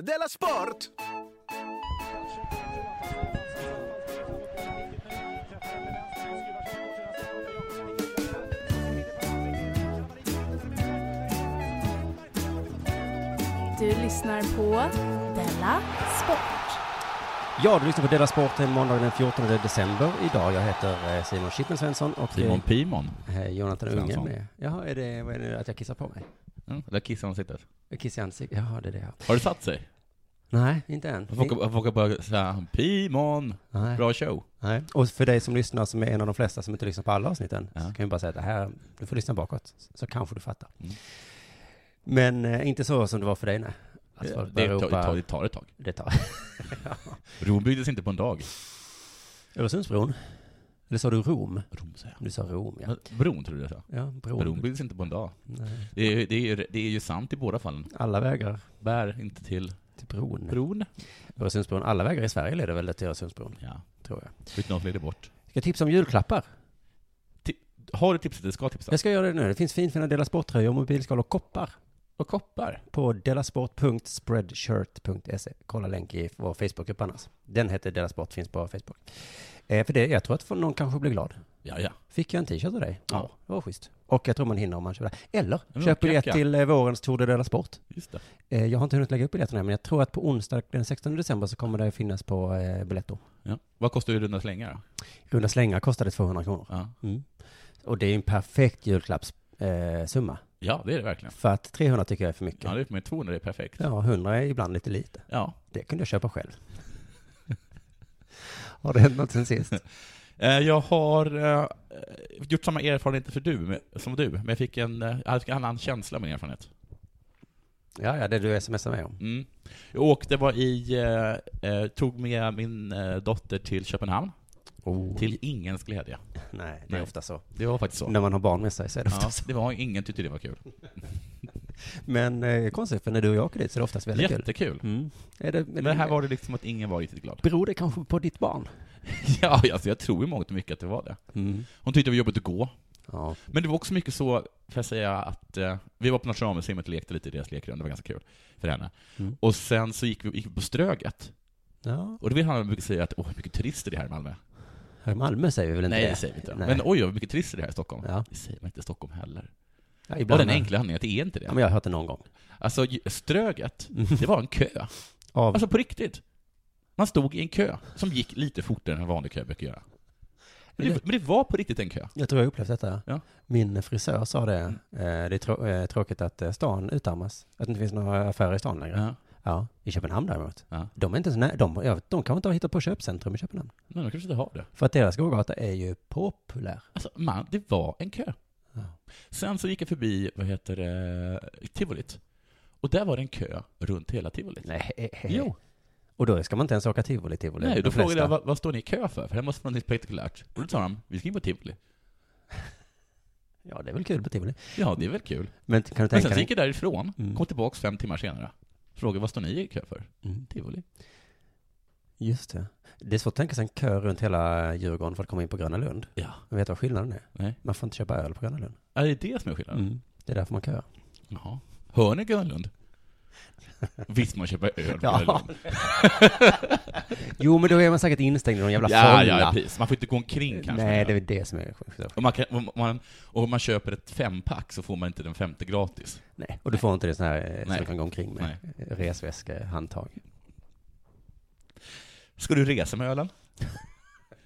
Della Sport! Du lyssnar på Della Sport. Ja, du lyssnar på Della Sporten måndagen den 14 december idag. Jag heter eh, Simon Chippen Svensson och Simon Pimon. eh, Jonathan Unge är Svensson. med. Jaha, är det, vad är det att jag kissar på mig? Mm, där kissar han sitter. Jag kissar i ansiktet? Jaha, det är det jag Har det satt sig? Nej, inte än. Folk har- folk har börjat säga Pimon, Nej. bra show. Nej. Och för dig som lyssnar, som är en av de flesta som inte lyssnar på alla avsnitten, Ja. så kan vi bara säga att det här, du får lyssna bakåt, så kanske du fattar. Mm. Men eh, inte så som det var för dig, nej. Att folk det, Alltså, börjar tar, det, tar, ropa, det tar ett tag. det tar. Rom byggdes inte på en dag. Öresundsbron? Eller sa du Rom? Rom säger jag. Du sa Rom, ja. Men Bron tror du jag sa. Ja, bron. Rom byggdes inte på en dag. Nej. Det är, det, är, det är ju sant i båda fallen. Alla vägar Bär inte till till bron. bron. Öresundsbron. Alla vägar i Sverige leder väl till Öresundsbron, Ja, tror jag. utan att leda bort. Ska jag tipsa om julklappar? Har du tipset? Det ska tipsa. Jag ska göra det nu. Det finns finfina Dela Sport-tröjor, mobilskal och koppar. Och koppar. På delasport.spreadshirt.se. Kolla länk i vår Facebookgrupp annars. Den heter Dela Sport, finns på Facebook. Eh, för det, jag tror att någon kanske blir glad. Ja, ja. Fick jag en t-shirt av dig? Ja. Det var schysst. Och jag tror man hinner om man köper det. Eller, men köp då biljett klackar. till eh, vårens Tour de Dela Sport. Just det. Eh, Jag har inte hunnit lägga upp biljetterna, men jag tror att på onsdag den 16 december så kommer det finnas på eh, Biletto. Ja. Vad kostar ju runda slängar då? Runda slängar kostade 200 kronor. Ja. Mm. Och det är ju en perfekt julklappssumma. Eh, summa. ja, det är det verkligen. för att 300 tycker jag är för mycket. Ja, Ja, det är med 200 det är perfekt. 100 är ibland lite lite. ja. Det kunde jag köpa själv. har det hänt något sen sist? Eh, Jag har eh, gjort samma erfarenhet för du, med- som du, men jag fick en, eh, jag fick en annan känsla med min erfarenhet. Ja, ja, det du smsar mig om. Mm. Jag åkte, var i, eh, eh, tog med min eh, dotter till Köpenhamn, Oh. till ingens glädje. Nej, det är Nej. ofta så. Det var faktiskt så. När man har barn med sig så är det ofta Ja, så. det var ingen tyckte det var kul. Men eh, konstigt, för när du och jag åker dit så är det oftast väldigt kul. Jättekul. Mm. Är det, Men här var det liksom att ingen var riktigt glad. Beror det kanske på ditt barn? Ja, alltså jag tror i mångt och mycket att det var det. Mm. Hon tyckte det var jobbigt att gå. Ja. Men det var också mycket så, får jag säga, att eh, vi var på Nationalmuseet och lekte lite i deras lekrum, det var ganska kul för henne. Mm. Och sen så gick vi, gick vi på Ströget. ja. Och det vill han brukar säga att åh, hur mycket turister det är här i Malmö. Här i Malmö säger vi väl inte Nej, det? det säger vi inte. Nej. Men oj, hur mycket turister det är här i Stockholm. Ja. Det säger man inte i Stockholm heller. Ja, Bara ibland. den enkla anledningen att det är inte Ja, det. men jag har hört det någon gång. Alltså, ju- Ströget, det var en kö. Av, Alltså på riktigt. Man stod i en kö som gick lite fortare än en vanlig kö brukar göra. Men det, men det var på riktigt en kö. jag tror jag upplevt detta. Ja. Mm. Min frisör sa det. Eh, det är trå- eh, tråkigt att eh, stan utarmas. Att det inte finns några affärer i stan längre. Ja. Ja. I Köpenhamn däremot. Ja. De är inte så nä- de, jag vet, de kan inte ha hittat på köpcentrum i Köpenhamn. Men de kanske inte har det. För att deras gågata är ju populär. Alltså, man, det var en kö. Ja. Sen så gick jag förbi, vad heter det, Tivolit. Och där var det en kö runt hela Tivolit. Nej, he- he- Jo. Och då ska man inte ens åka tivoli, tivoli. Nej, De då frågade flesta. jag vad, vad står ni i kö för? För det här måste vara något spektakulärt. Och då sa de, vi ska in på Tivoli. Ja, det är väl kul på tivoli. Ja, det är väl kul. Men t- kan du Men tänka sen så dig... gick jag därifrån, Mm. kom tillbaks fem timmar senare. Frågade, vad står ni i kö för? Mm, Tivoli. just det. Det är svårt att tänka sig en kö runt hela Djurgården för att komma in på Gröna Lund. Ja. Men vet du vad skillnaden är? Nej. Man får inte köpa öl på Gröna Lund. Är det det som är skillnaden? Det är därför man köar. Jaha. Hör ni Grönlund? Visst man köper öl på Ja, Grönlund. Jo, men då är man säkert instängd i någon jävla ja, fålla. ja, precis. Man får inte gå omkring kanske. Nej, det är väl det som är sjukt. Om man, kan, om, man, om man köper ett fempack så får man inte den femte gratis. Nej, och du får inte det sån här eh, som Nej. du kan gå omkring med. Resväska, handtag. Ska du resa med ölen? Ja,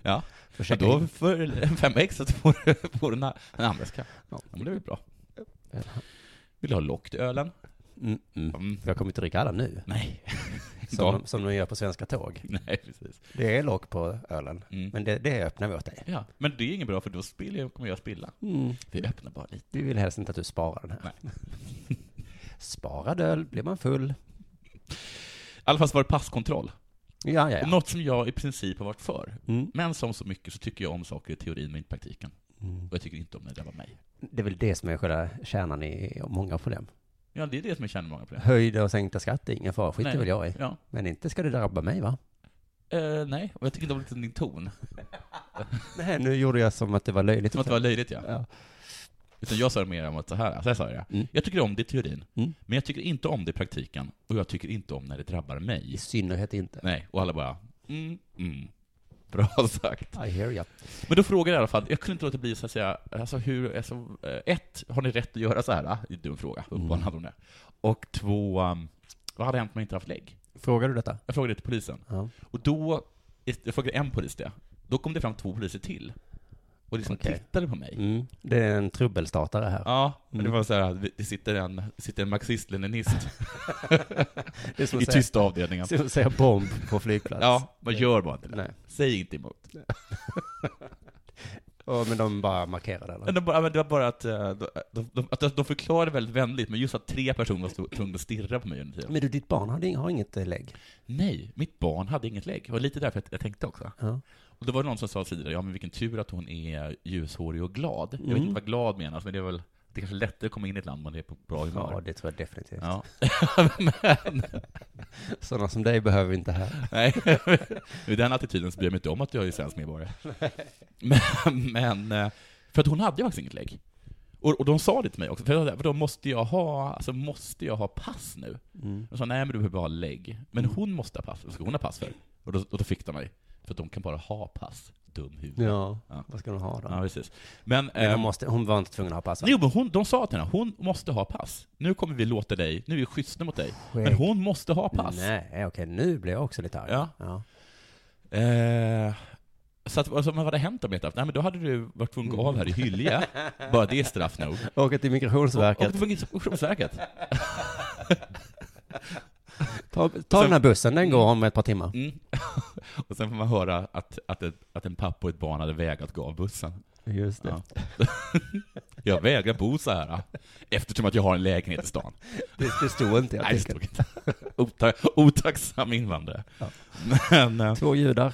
ja Försök då för en femma extra så får du, får du en, a- en handväska. Ja, men det är väl bra. Vill du ha lock till ölen? Mm, mm. Mm. Jag kommer inte dricka alla nu, Nej. som, Ja. de, som de gör på svenska tåg. Nej, precis. Det är lock på ölen, Mm. men det, det öppnar vi åt dig. Mm. Ja, men det är inget bra för då spiller jag, kommer jag spilla. Vi öppnar bara lite. Vi vill helst inte att du sparar den här. Sparad öl blir man full. I alla fall så var det passkontroll. Ja, ja, ja. Något som jag i princip har varit för. Mm. Men som så mycket så tycker jag om saker i teorin men inte i praktiken. Mm. Och jag tycker inte om när det drabbar mig. Det är väl det som är själva kärnan i många problem. Ja, det är det som jag känner många problem. Höjda och sänkta skatter, ingen fara, skiter Nej. väl jag i. Ja. Men inte ska det drabba mig va? Eh, nej, och jag tycker inte om liksom din ton. Nej, nu gjorde jag som att det var löjligt. Som att det var löjligt, ja. Ja. Utan jag sa mer om att så här, så här sa jag. Mm. Jag tycker om det i teorin, Mm. men jag tycker inte om det i praktiken, och jag tycker inte om när det drabbar mig. I synnerhet inte. Nej, och alla bara, mm, mm. Bra sagt. I hear ya. Men då frågar jag i alla fall, jag kunde inte låta bli så att säga, alltså hur, alltså, eh, ett, har ni rätt att göra så här? ah? Det är en dum fråga, Mm. uppenbarligen hade hon det. Och två, um, vad hade hänt om jag inte haft lägg? Frågar du detta? Jag frågade det till polisen. Ja. Och då, jag frågade en polis det, då kom det fram två poliser till. Och liksom Okej. tittade på mig. Mm. Det är en trubbelstartare här. Ja, men det Mm. var så här, det sitter en, sitter en marxist-leninist det är som i att säga, tysta avdelningen. som att säga bomb på flygplats. Ja, man gör bara inte det. alltså. Nej. Säg inte emot. Och, men de bara markerar det. Men Eller? de bara, men det var bara att eh, de, de, de, att de- de förklarade väldigt vänligt, men just att tre personer stod tvungna att stirra på mig under tiden. Men du, ditt barn har, ing- har inget eh, lägg? Nej, mitt barn hade inget lägg. Det var lite därför jag, jag tänkte också. Ja. Och då var det någon som sa tidigare, ja men vilken tur att hon är ljushårig och glad. Jag Mm. vet inte vad glad menas, men det är väl, det är kanske är lättare att komma in i ett land om man är på bra ja, humör. det tror jag definitivt. Ja, men, Sådana som dig behöver vi inte här. nej, med den attityden så bryr jag mig inte om att jag är svensk medborgare. Men, men, eh, för att hon hade ju faktiskt inget lägg. Och, och de sa det till mig också, för jag sa, då måste jag ha, alltså måste jag ha pass nu? Mm. De sa nej men du behöver bara ha lägg. Men hon måste ha pass, vad ska hon ha pass för? Och då, och då fick de mig. För att de kan bara ha pass, dum huvud. Ja. Ja. vad ska de ha då? Ja, precis. Men, men ehm, hon, måste, hon var inte tvungen att ha pass va? jo, men hon, de sa till henne, hon måste ha pass. Nu kommer vi låta dig, nu är vi schyssta mot dig. Men Skägg. hon måste ha pass. Nej, okej, nu blir jag också lite arg. Ja. Eh, så att, alltså, men vad hade hänt om jag inte haft, nej men då hade du varit tvungen att gå av här i Hyllie. bara det är straff nog. Åka till Migrationsverket. Och det var Migrationsverket. Ta, ta den här bussen, den går om ett par timmar. Mm. och sen får man höra att, att, ett, att en pappa och ett barn hade vägrat gå av bussen. Just Ja. jag vägrar bo så här ah, eftersom att jag har en lägenhet i stan. Det, det stod inte i Nej, det artikeln. stod inte. Ota- Otacksam invandrare. Ja. Men, eh, Två judar.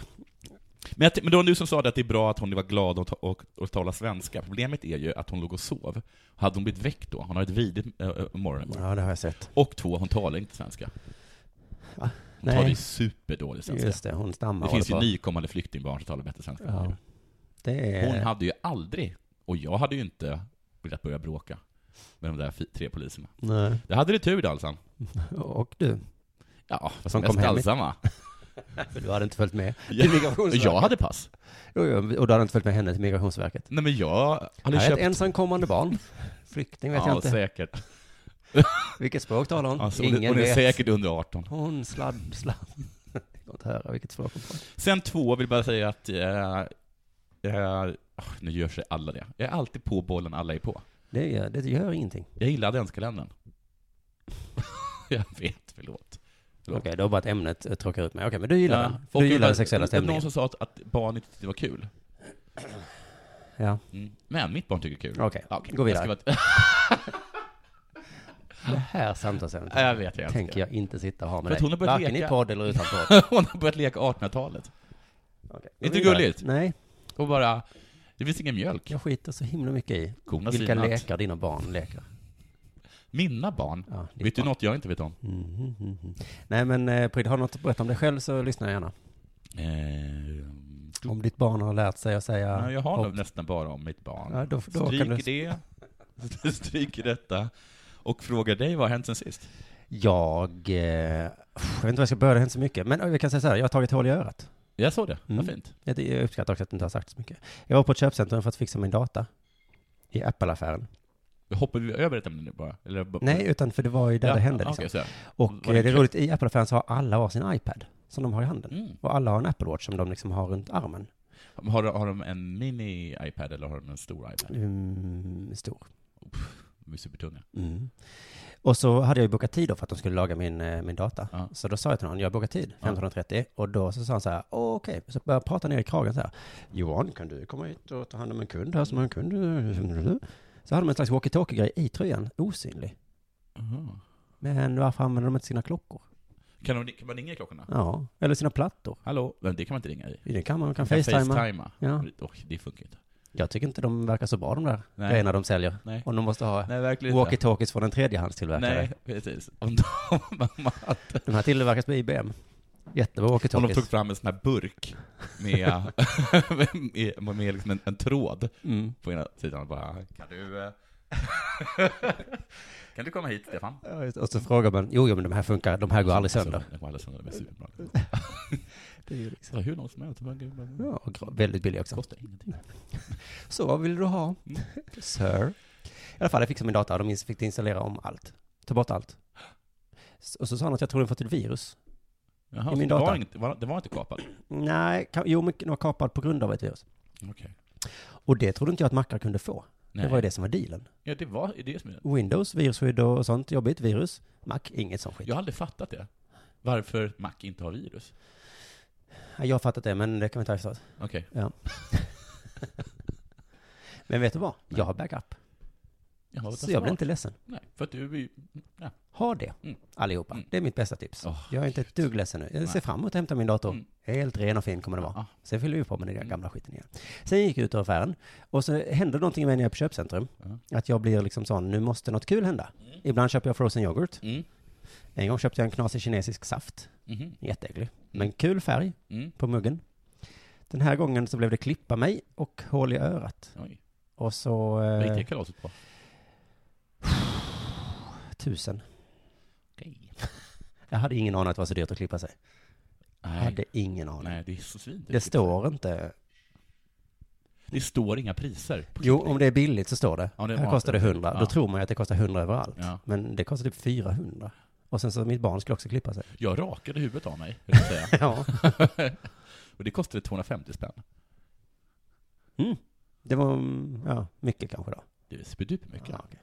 men, jag, ty- men det var du som sa det att det är bra att hon var glad och, ta- och, och tala svenska. Problemet är ju att hon låg och sov. Hade hon blivit väckt då? Hon har ett vidigt äh, morgon. Ja, det har jag sett. Och två, hon talar inte svenska. Va? Hon talar Nej. ju superdålig svenska. Just det, hon stammar. alltså. Det och håller finns ju på. nykommande flyktingbarn som talar bättre svenska. än Ja. mig. Det är... Hon hade ju aldrig, och jag hade ju inte velat börja bråka med de där fi- tre poliserna. Nej. Det hade du tur Dalsan. Och du. Ja, Som mest kom hem. Dalsan För du hade inte följt med. Till Jag, Migrationsverket. jag hade pass. Jo, jo, och du hade inte följt med henne till Migrationsverket. Nej men jag hade Här är ett köpt... ensamkommande barn. Flykting vet jag ja, inte. säkert. Vilket språk talar hon? Alltså, hon, Ingen hon är vet. säkert under 18. Hon sladd, sladd. Det går inte att höra vilket språk hon pratar. Sen två, vill bara säga att... Eh, eh, ah, nu gör sig alla det. Jag är alltid på bollen alla är på. Det gör, det gör ingenting. Jag gillar adventskalendern. jag vet, förlåt. Okej, Förlåt. det var bara att ämnet eh, tråkar ut mig. Okej, men du gillar Ja, den. folk Du är gillar bara- den sexuella det var Någon stämningen. som sa att, att barn inte tyckte det var kul. Ja, Mm. Men mitt barn tycker det är kul. okej. Ja, okej. Gå vidare. Jag, ska vara... Det här samtalsämnet Nej, jag vet, jag tänker tänker jag inte sitta och ha För med att dig. hon har börjat Varken i leka. podd eller utan podd. Hon har börjat leka 1800-talet. Okej, gå Inte vidare. gulligt? Nej, Och bara, det finns ingen mjölk. jag skiter så himla mycket i Korna vilka svinat. lekar dina barn leker. Mina barn. Ja, ditt Vet du barn. något jag inte vet om? Mhm, mhm, mhm. Nej men eh, Pryd, har du något att berätta om dig själv så lyssnar jag gärna. Eh, Om ditt barn har lärt sig att säga ja, jag har hopp. nog nästan bara om mitt barn. Ja, då, då kan Stryker du... det, stryker detta, och frågar dig vad har hänt sen sist? Jag, eh, jag vet inte var jag ska börja, det har hänt så mycket. Men eh, vi kan säga så här, jag har tagit hål i örat. Jag såg det, Mm. vad fint. Jag jag uppskattar också att du inte har sagt så mycket. Jag var på ett köpcentrum för att fixa min data. I Apple-affären. Hoppar vi över ett ämne nu bara? Eller, bara- Nej, utan för det var ju där Ja, det hände. okej, Liksom. så ja. Och Var det eh, det är kul? roligt, i Apple-affären så har alla var sin iPad som de har i handen. Mm. Och alla har en Apple Watch som de liksom har runt armen. Har, de- har de en mini-iPad eller har de en stor iPad? Mm, stor. De är supertunga. Mm. Och så hade jag ju bokat tid då för att de skulle laga min, eh, min data. Ja. Så då sa jag till honom, jag har bokat tid, Ja. 15.30. Och då så sa han så här, "Åh, okej. Så började jag prata ner i kragen så här, Johan, kan du komma hit och ta hand om en kund här som har en kund? Så hade de en slags walkie-talkie-grej i tröjan, osynlig. Aha. Men varför använder de inte sina klockor? Kan, de, kan man ringa i klockorna? Ja, eller sina plattor. Hallå? Men det kan man inte ringa i. I den kan man, man kan Man kan facetima. facetima. Ja. Oj, det funkar inte. Jag tycker inte de verkar så bra de där Nej. grejerna de säljer. Nej. Om de måste ha Nej, verkligen inte. walkie-talkies från en tredjehandstillverkare. Nej, precis. Om de, om de- De här tillverkas på IBM. Jättebra om de walkie-talkies. tog fram en sån här burk med, med, med, med liksom en, en tråd Mm. på ena sidan och bara Kan du eh, Kan du komma hit, Stefan? Alltså, Ja, just det. Och så frågar man, jo, jo men de här funkar, de här går aldrig sönder. De går aldrig sönder, de är superbra. Alltså, Det är ju liksom. Så hur någon som helst, bara- bara- bara- Ja, och gra- väldigt billig också. kostar ingenting. Så vad vill du ha? Sir. I alla fall, jag fick som min data, de ins- fick installera om allt. Ta bort allt. S- Och så sa han att jag tror den fått ett virus. Jaha, I min så det, data. var inte, var, det var inte kapad? Nej, ka- jo men den var kapad på grund av ett virus. Okej. Och det trodde inte jag att Macar kunde få. Nej. Det var ju det som var dealen. Ja, det var det som jag... Windows, virusskydd och sånt, jobbigt, virus. Mac, inget sånt skit. Jag har aldrig fattat det. Varför Mac inte har virus. Ja, Jag har fattat det, men det kan vi ta efteråt. Okej. Men vet du vad? Jag har backup. Jaha, vad Så jag blir smart. inte ledsen. Nej, för att du är ju... Ja. Ha det, Mm. allihopa. Mm. Det är mitt bästa tips. Åh, jag är inte ett dugg ledsen nu. Jag ser Nej. fram emot att hämta min dator. Mm. Helt ren och fin kommer det vara. Ja. Sen fyller vi på med den där Mm. gamla skiten igen. Sen gick jag ut ur affären. Och så hände någonting med när jag är på köpcentrum. Ja. Att jag blir liksom sån, nu måste något kul hända. Ibland köper jag frozen yoghurt. Mm. En gång köpte jag en knasig kinesisk saft. Mhm. Jätteäcklig. Men kul färg Mm. på muggen. Den här gången så blev det klippa mig och hål i örat. Oj. Och så... Vad gick Eh, det kalaset på? tusen. Okej. Jag hade ingen aning att det var så dyrt att klippa sig. Jag Nej. hade ingen aning. Nej, det är så svint. Det står inte. det står inga priser. På Jo, klippning. om det är billigt så står det. Ja, det Här var- kostar det 100. Då Ja. tror man ju att det kostar 100 överallt. Ja. Men det kostar typ 400. Och sen så mitt barn skulle också klippa sig. Jag rakade huvudet av mig, vill jag säga. Ja. Och det kostade 250 spänn. Mm. Det var, mm, ja, mycket kanske då. Det är superdupermycket. Ja, okej.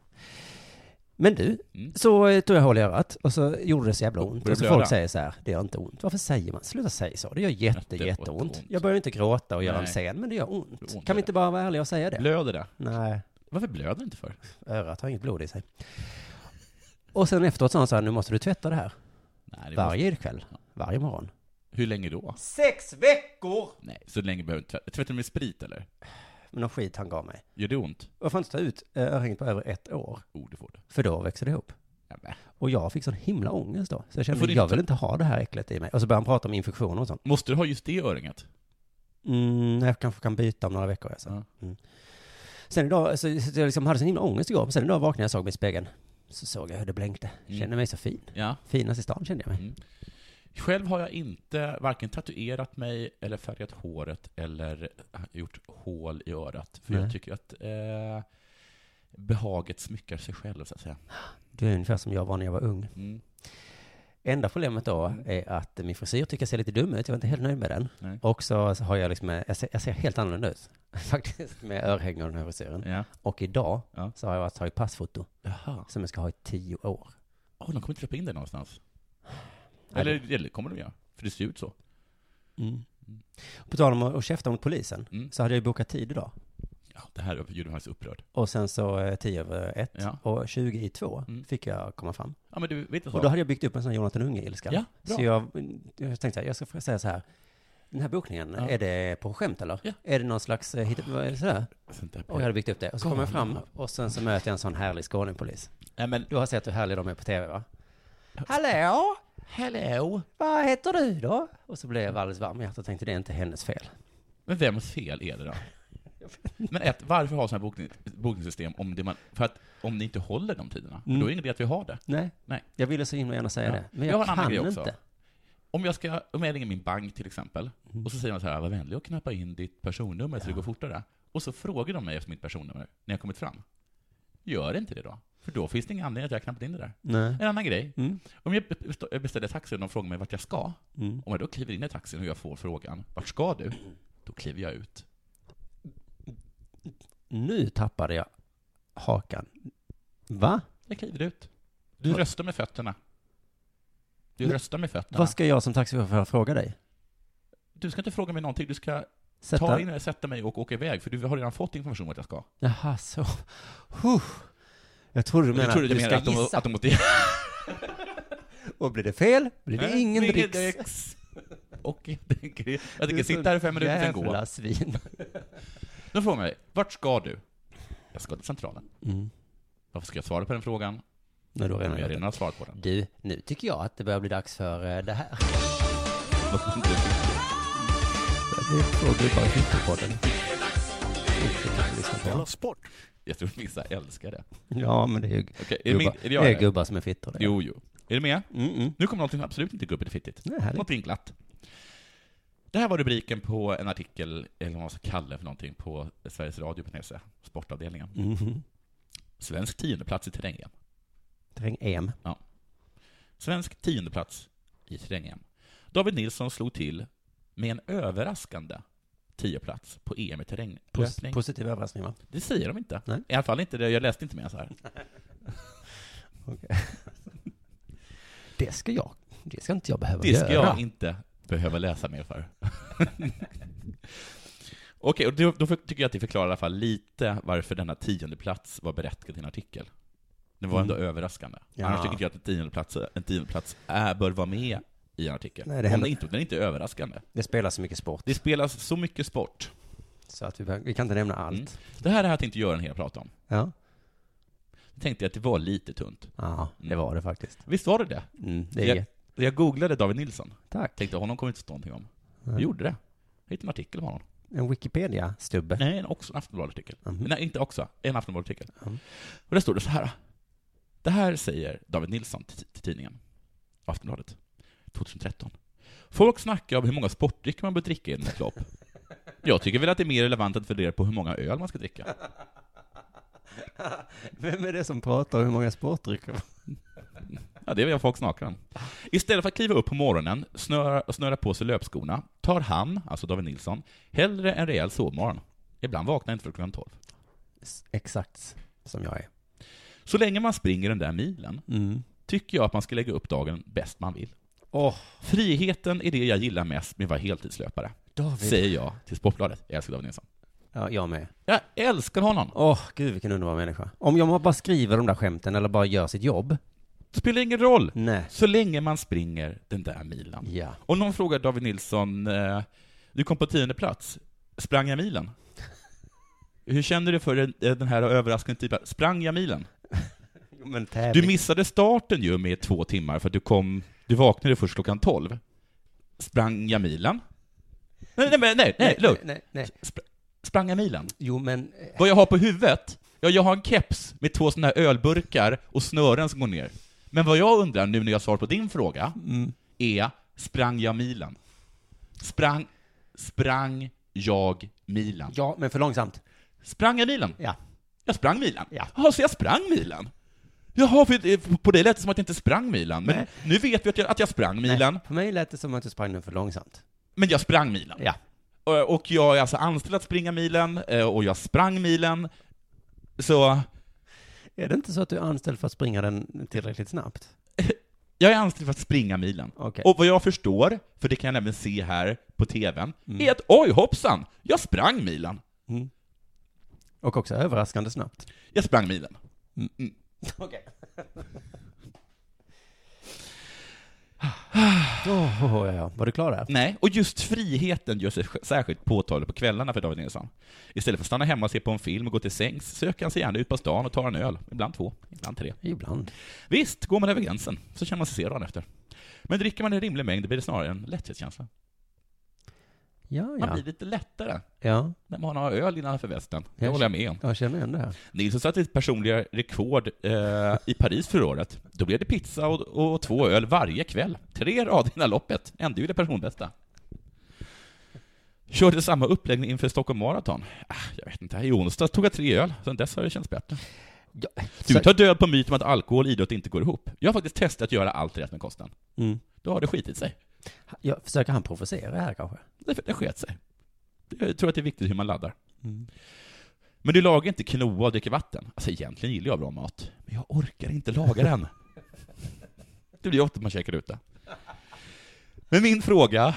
Men du, Mm. så eh, tog jag hål i örat och så gjorde det så jävla ont. Började Och så blöda. folk säger så här, det gör inte ont. Varför säger man? Sluta säga så. Det gör jätte, Jätte- jätteont. ont. Jag börjar inte gråta och göra en Nej. scen, men det gör ont. Det gör ont, Kan vi ja. inte bara vara ärliga och säga det? Blöder det? Nej. Varför blöder det inte för? örat har inget blod i sig. Och sen efteråt sa han så här, nu måste du tvätta det här. Nej, det måste... Varje kväll, varje morgon. Hur länge då? Sex veckor! Nej, så länge behöver du inte tvätta. Tvättar du med sprit eller? Men någon skit han gav mig. Gör det ont? Och jag får inte ta ut eh, örhänget på över ett år, Oh, det får du. för då växer det ihop. Ja, men. Och jag fick sån himla ångest då. Så jag Får kände, du jag inte- vill inte ha det här äcklet i mig. Och så började han prata om infektioner och sånt. Måste du ha just det öringet? Mm, jag kanske kan byta om några veckor. Alltså. Ja. Mm. Sen idag, så, så jag liksom hade sån himla ångest igår, men sen idag vaknade jag och såg mig i spegeln. Så såg jag hur det blänkte. Mm. Kände mig så fin. Ja. Finast i stan kände jag mig. Mm. Själv har jag inte varken tatuerat mig eller färgat håret eller äh, gjort hål i örat. För Nej. jag tycker att eh, behaget smyckar sig själv, så att säga. Du är ungefär som jag var när jag var ung. Mm. Enda problemet då är att min frisyr tycker jag ser lite dum ut. Jag var inte helt nöjd med den. Nej. Och så har jag liksom, jag ser, jag ser helt annorlunda ut. Faktiskt med örhängen och den här frisyren. Ja. Och idag Ja. så har jag alltså tagit passfoto Jaha. som jag ska ha i tio år. Åh, de kommer inte släppa in dig någonstans. Nej, Eller, eller kommer de göra? För det ser ju ut så. Mm. På tal om att att käfta mot polisen Mm. så hade jag ju bokat tid idag. Ja, det här gjorde mig faktiskt upprörd. Och sen så eh, tio över ett Ja. och tjugo i två Mm. fick jag komma fram. Ja, men du, vet du Och då hade jag byggt upp en sån här Jonathan Unge-ilska. Ja, bra. så jag, jag tänkte så här, jag ska säga så här. Den här bokningen, Ja. är det på skämt eller? Ja. Är det någon slags, eh, hitta- vad är det sådär? Sånt där Och jag hade byggt upp det. Och så kommer jag fram Galna. och sen så möter jag en sån härlig skåningpolis. Nej, men... Du har sett hur härliga de är på tv va? Hallå! Hello! Vad heter du då? Och så blev jag alldeles varm i hjärtat och tänkte det är inte hennes fel. Men vems fel är det då? Men ett, varför ha sådana här bokning, bokningssystem om det man, för att om ni inte håller de tiderna? Mm. Då är det ingen idé att vi har det. Nej. Nej. Jag ville så himla gärna säga Ja. det. Men Jag jag, har en annan kan grej inte. också. Om jag, ska, om jag ringer min bank till exempel, och så säger de så här, var vänlig och knappa in ditt personnummer så det går fortare. Och så frågar de mig efter mitt personnummer när jag kommit fram. Gör inte det då? För då finns det ingen anledning att jag har knappat in det där. Nej. En annan grej. Mm. Om jag bestå- jag beställer taxi och de frågar mig vart jag ska, Mm. om jag då kliver in i taxin och jag får frågan, vart ska du? Då kliver jag ut. Nu tappade jag hakan. Va? Jag kliver ut. Du röstar med fötterna. Du Men- röstar med fötterna. Vad ska jag som taxichaufför fråga dig? Du ska inte fråga mig någonting, du ska Sätta... ta in, sätta mig och åka iväg, för du har redan fått information vart jag ska. Jaha, så. Huh. Jag trodde du menade jag trodde att du ska att de, gissa. att de måste... Och blir det fel blir det Nej, ingen det är dricks. dricks. Och jag tänker, jag Du är tänker sitta här i sån fem minuter, sen gå. Jävla svin. De frågar mig, vart ska du? Jag ska till Centralen. Mm. Varför ska jag svara på den frågan? Nej, du har Jag redan har gjort det. redan svarat på den. Du, nu tycker jag att det börjar bli dags för eh, det här. Det är två gubbar i Hyttepodden. Fortsätt att lyssna på. sport. Jag tror vissa älskar det. Ja, men det är ju Okej, är, det min, gubbar, är det det jag? är eller? gubbar som är fittor. det. Jo, jo. Är du med? Mm, mm. Nu kommer någonting som absolut inte gubbigt och fittigt. Nej, härligt. Något vinklat. Det här var rubriken på en artikel, eller vad man ska kalla det för någonting, på Sveriges Radio.se, sportavdelningen. Mhm. Svensk tiondeplats i terrängen. Terräng-EM. Svensk tiondeplats i terrängen. David Nilsson slog till med en överraskande tioplats på EM i Pos- terränglöpning. positiv överraskning, va? Det säger de inte. Nej. I alla fall inte det, jag läste inte mer så här. Det ska jag. Det ska inte jag behöva Det ska göra. jag inte behöva läsa mer för. Okej, och då, då för- tycker jag att det förklarar i alla fall lite varför denna tionde plats var berättigad till en artikel. Den var ändå överraskande. Mm. Ja. Annars tycker inte jag att en tionde plats, en tionde plats är, bör vara med i en artikel. Nej, det Om händer- den inte, den är inte överraskande. Det spelar så mycket sport, Det spelas så mycket sport. så att vi, behöver- vi kan inte nämna allt. Mm. Det här har jag tänkt göra en hel prata om. Ja. Jag tänkte att det var lite tunt. ja, det var det faktiskt. Visst var det det? Mm, det är... Mm. Ja. Jag googlade David Nilsson. Tack. Tänkte honom kommer inte stå någonting om. Nej. Jag gjorde det. Jag hittade en artikel om honom. En Wikipedia-stubbe. Nej, en också en Aftonbladet-artikel. Mhm. Nej, inte också. En Aftonbladet-artikel. Mm. Och där står det så här. Det här säger David Nilsson till, till tidningen Aftonbladet 2013. Folk snackar om hur många sportdrycker man bör dricka i ett lopp. Jag tycker väl att det är mer relevant att fundera på hur många öl man ska dricka. Vem är det som pratar om hur många sportdrycker? Ja, det är vad folk snackar om. Istället för att kliva upp på morgonen snöra, och snöra på sig löpskorna tar han, alltså David Nilsson, hellre en rejäl sovmorgon. Ibland vaknar jag inte förrän klockan 12. S- Exakt som jag är. Så länge man springer den där milen Mm. tycker jag att man ska lägga upp dagen bäst man vill. Åh, Friheten är det jag gillar mest med att vara heltidslöpare, David. säger jag till Sportbladet. Jag älskar David Nilsson. Ja, jag med. Jag älskar honom! Åh, gud vilken underbar människa. Om jag bara skriver de där skämten eller bara gör sitt jobb. Det spelar ingen roll, Nej. så länge man springer den där milen. Ja. Om någon frågar David Nilsson, eh, du kom på tionde plats, sprang jag milen? Hur känner du för den- den här överraskande typen? Sprang jag milen? Men Du tävling. missade starten ju med två timmar för att du kom, du vaknade först klockan 12. Sprang jag milen? Nej, nej, nej, nej, nej, lugn. nej, nej. Sp- Sprang jag milen? Jo, men eh, Vad jag har på huvudet? Ja, jag har en keps med två sådana här ölburkar och snören som går ner. Men vad jag undrar nu när jag svarar på din fråga Mm. är, sprang jag milen? Sprang, sprang jag milen? ja, men för långsamt. Sprang jag milen? Ja. Jag sprang milen? Ja. Jaha, så jag sprang milen? Jaha, för det- på det lät det som att jag inte sprang milen, men Nej. nu vet vi att jag, att jag sprang milen, Nej, För mig lät det som att du sprang den för långsamt. men jag sprang milen. Ja. Och- Och jag är alltså anställd att springa milen, eh, och jag sprang milen, så Är det inte så att du är anställd för att springa den tillräckligt snabbt? Jag är anställd för att springa milen. Okej. Och vad jag förstår, för det kan jag även se här på TVn, Mm. är att oj hoppsan, jag sprang milen. Och också överraskande snabbt. Jag sprang milen. Okej. Åh, oh, ja, ja. Var du klar där? Nej, och just friheten gör sig sj- särskilt påtaglig på kvällarna för David Nilsson. Istället för att stanna hemma och se på en film och gå till sängs söker han sig gärna ut på stan och tar en öl, ibland två, ibland tre. Ibland. Visst, går man över gränsen så känner man sig se dagen efter. Men dricker man en rimlig mängd blir det snarare en lätthetskänsla. Ja, Man ja. blir lite lättare Ja, när man har öl innanför västen. Det Jag håller jag med om. jag känner igen det här. Nilsson satte ett personliga rekord eh, i Paris förra året. Då blev det pizza och, och två öl varje kväll. Tre rader innan loppet. Ändå ju det personbästa. Körde samma uppläggning inför Stockholm Marathon. Ah, jag vet inte, i onsdags tog jag tre öl. Sen dess har det känts bättre. Ja, Du tar död på myten om att alkohol och idrott inte går ihop. Jag har faktiskt testat att göra allt rätt med kosten. Mm. Då har det skitit sig. Ja, försöker han provocera här kanske? Det, det sket sig. Jag tror att det är viktigt hur man laddar. Mm. Men du lagar inte quinoa och dricker vatten. Alltså egentligen gillar jag bra mat, men jag orkar inte laga den. Det blir ofta man käkar ute. Men min fråga, alltså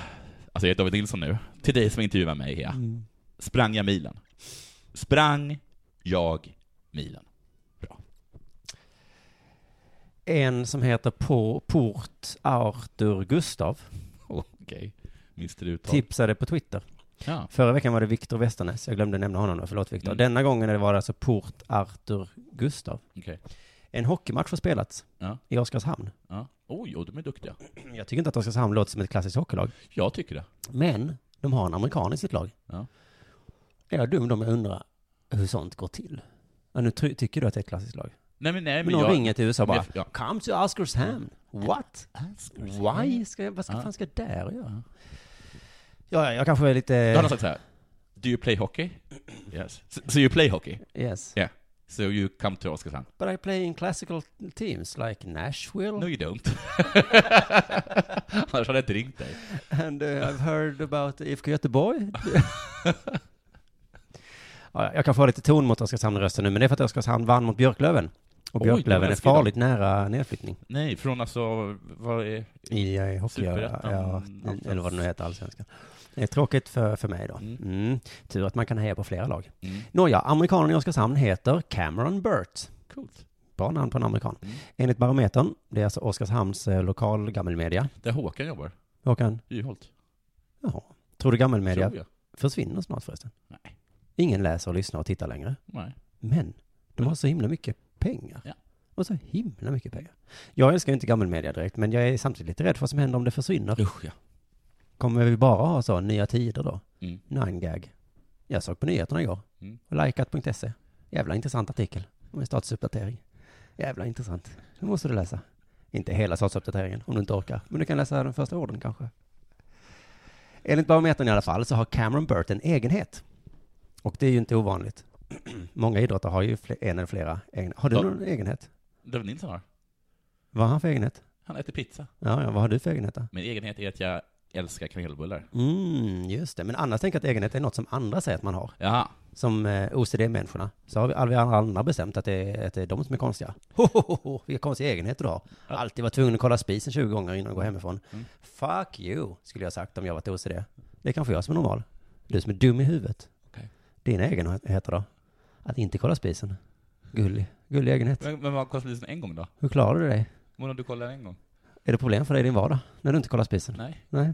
jag heter David Nilsson nu, till dig som intervjuar mig här. Mm. Sprang jag milen? Sprang jag milen? En som heter Por- Port Arthur Gustav Okej, minns du uttal? tipsade på Twitter. Ja. Förra veckan var det Viktor Westernäs. Jag glömde nämna honom då. Förlåt Viktor. Mm. Denna gången var det alltså Port Arthur Gustav. Okej. En hockeymatch har spelats Ja. i Oskarshamn. Ja. Oj, oj, de är duktiga. Jag tycker inte att Oskarshamn låter som ett klassiskt hockeylag. Jag tycker det. Men de har en amerikan i sitt lag. Ja. Är jag dum då om jag undrar hur sånt går till? Ja, nu ty- tycker du att det är ett klassiskt lag. Nej men, nej, Men men någon jag... ringer till USA och bara, Men jag- Come to Oscarshamn. What? Why? Ska jag, vad ska, Ja. fan ska jag där och göra? Ja. Ja, ja, jag kanske är Då har de lite... sagt så här. Do you play hockey? Yes. So, so you play hockey? Yes. Yeah. So you come to Oskarshamn? But I play in classical teams like Nashville. No you don't. Annars hade jag inte ringt dig. And uh, I've heard about IFK Göteborg. ja, jag kan få lite ton mot Oskarshamn-rösten nu, men det är för att Oskarshamn vann mot Björklöven. Och Oj, Björklöven är läskigt då. farligt nära nedflyttning Nej, från alltså, vad är... i, eh, hockey, ja, Superettan, ja, någonstans. eller vad det nu heter, allsvenskan. Det är tråkigt för, för mig då. Mm. Mm. Tur att man kan heja på flera lag. Mm. Nåja, amerikanen i Oskarshamn heter Cameron Burt. Coolt. Bra namn på en amerikan. Mm. Enligt Barometern, det är alltså Oskarshamns eh, lokal gammelmedia. Där Håkan jobbar. Håkan, Juholt. jaha. Tror du gammelmedia Tror jag. försvinner snart förresten? Nej. Ingen läser och lyssnar och tittar längre. Nej. Men de har så himla mycket pengar. Ja. Och så himla mycket pengar. Jag älskar ju inte gammelmedia direkt, men jag är samtidigt lite rädd för vad som händer om det försvinner. Usch ja. Kommer vi bara ha så, nya tider då? Mm. Nine gag. Jag såg på nyheterna igår. Mm. Och likat.se. E. Jävla intressant artikel. Om en statusuppdatering. Jävla intressant. Det måste du läsa. Inte hela statusuppdateringen, om du inte orkar. Men du kan läsa den första orden kanske. Enligt Barometern i alla fall så har Cameron Burt en egenhet. Och det är ju inte ovanligt. Många idrottare har ju fle- en eller flera egenheter. Har du Ja. någon egenhet? David Nilsson har. Vad har han för egenhet? Han äter pizza. Ja, ja, vad har du för egenhet då? Min egenhet är att jag älskar kanelbullar. Mm, just det. Men annars tänker jag att egenhet är något som andra säger att man har. Jaha. som eh, OCD-människorna, så har vi alla alla andra bestämt att det, är, att det är de som är konstiga. Ho, ho, ho, ho, vilka konstiga egenheter du har. Alltid var tvungen att kolla spisen 20 gånger innan du går hemifrån. Fuck you, skulle jag sagt om jag varit OCD. Det är kanske jag som är normal. Du som är dum i huvudet. Okej. Dina egenheter då? Att inte kolla spisen. Gullig, gullig egenhet. Men, men vad kostar polisen en gång då? Hur klarar du dig? Mona, du kollar en gång? Är det problem för dig i din vardag? När du inte kollar spisen? Nej. Nej.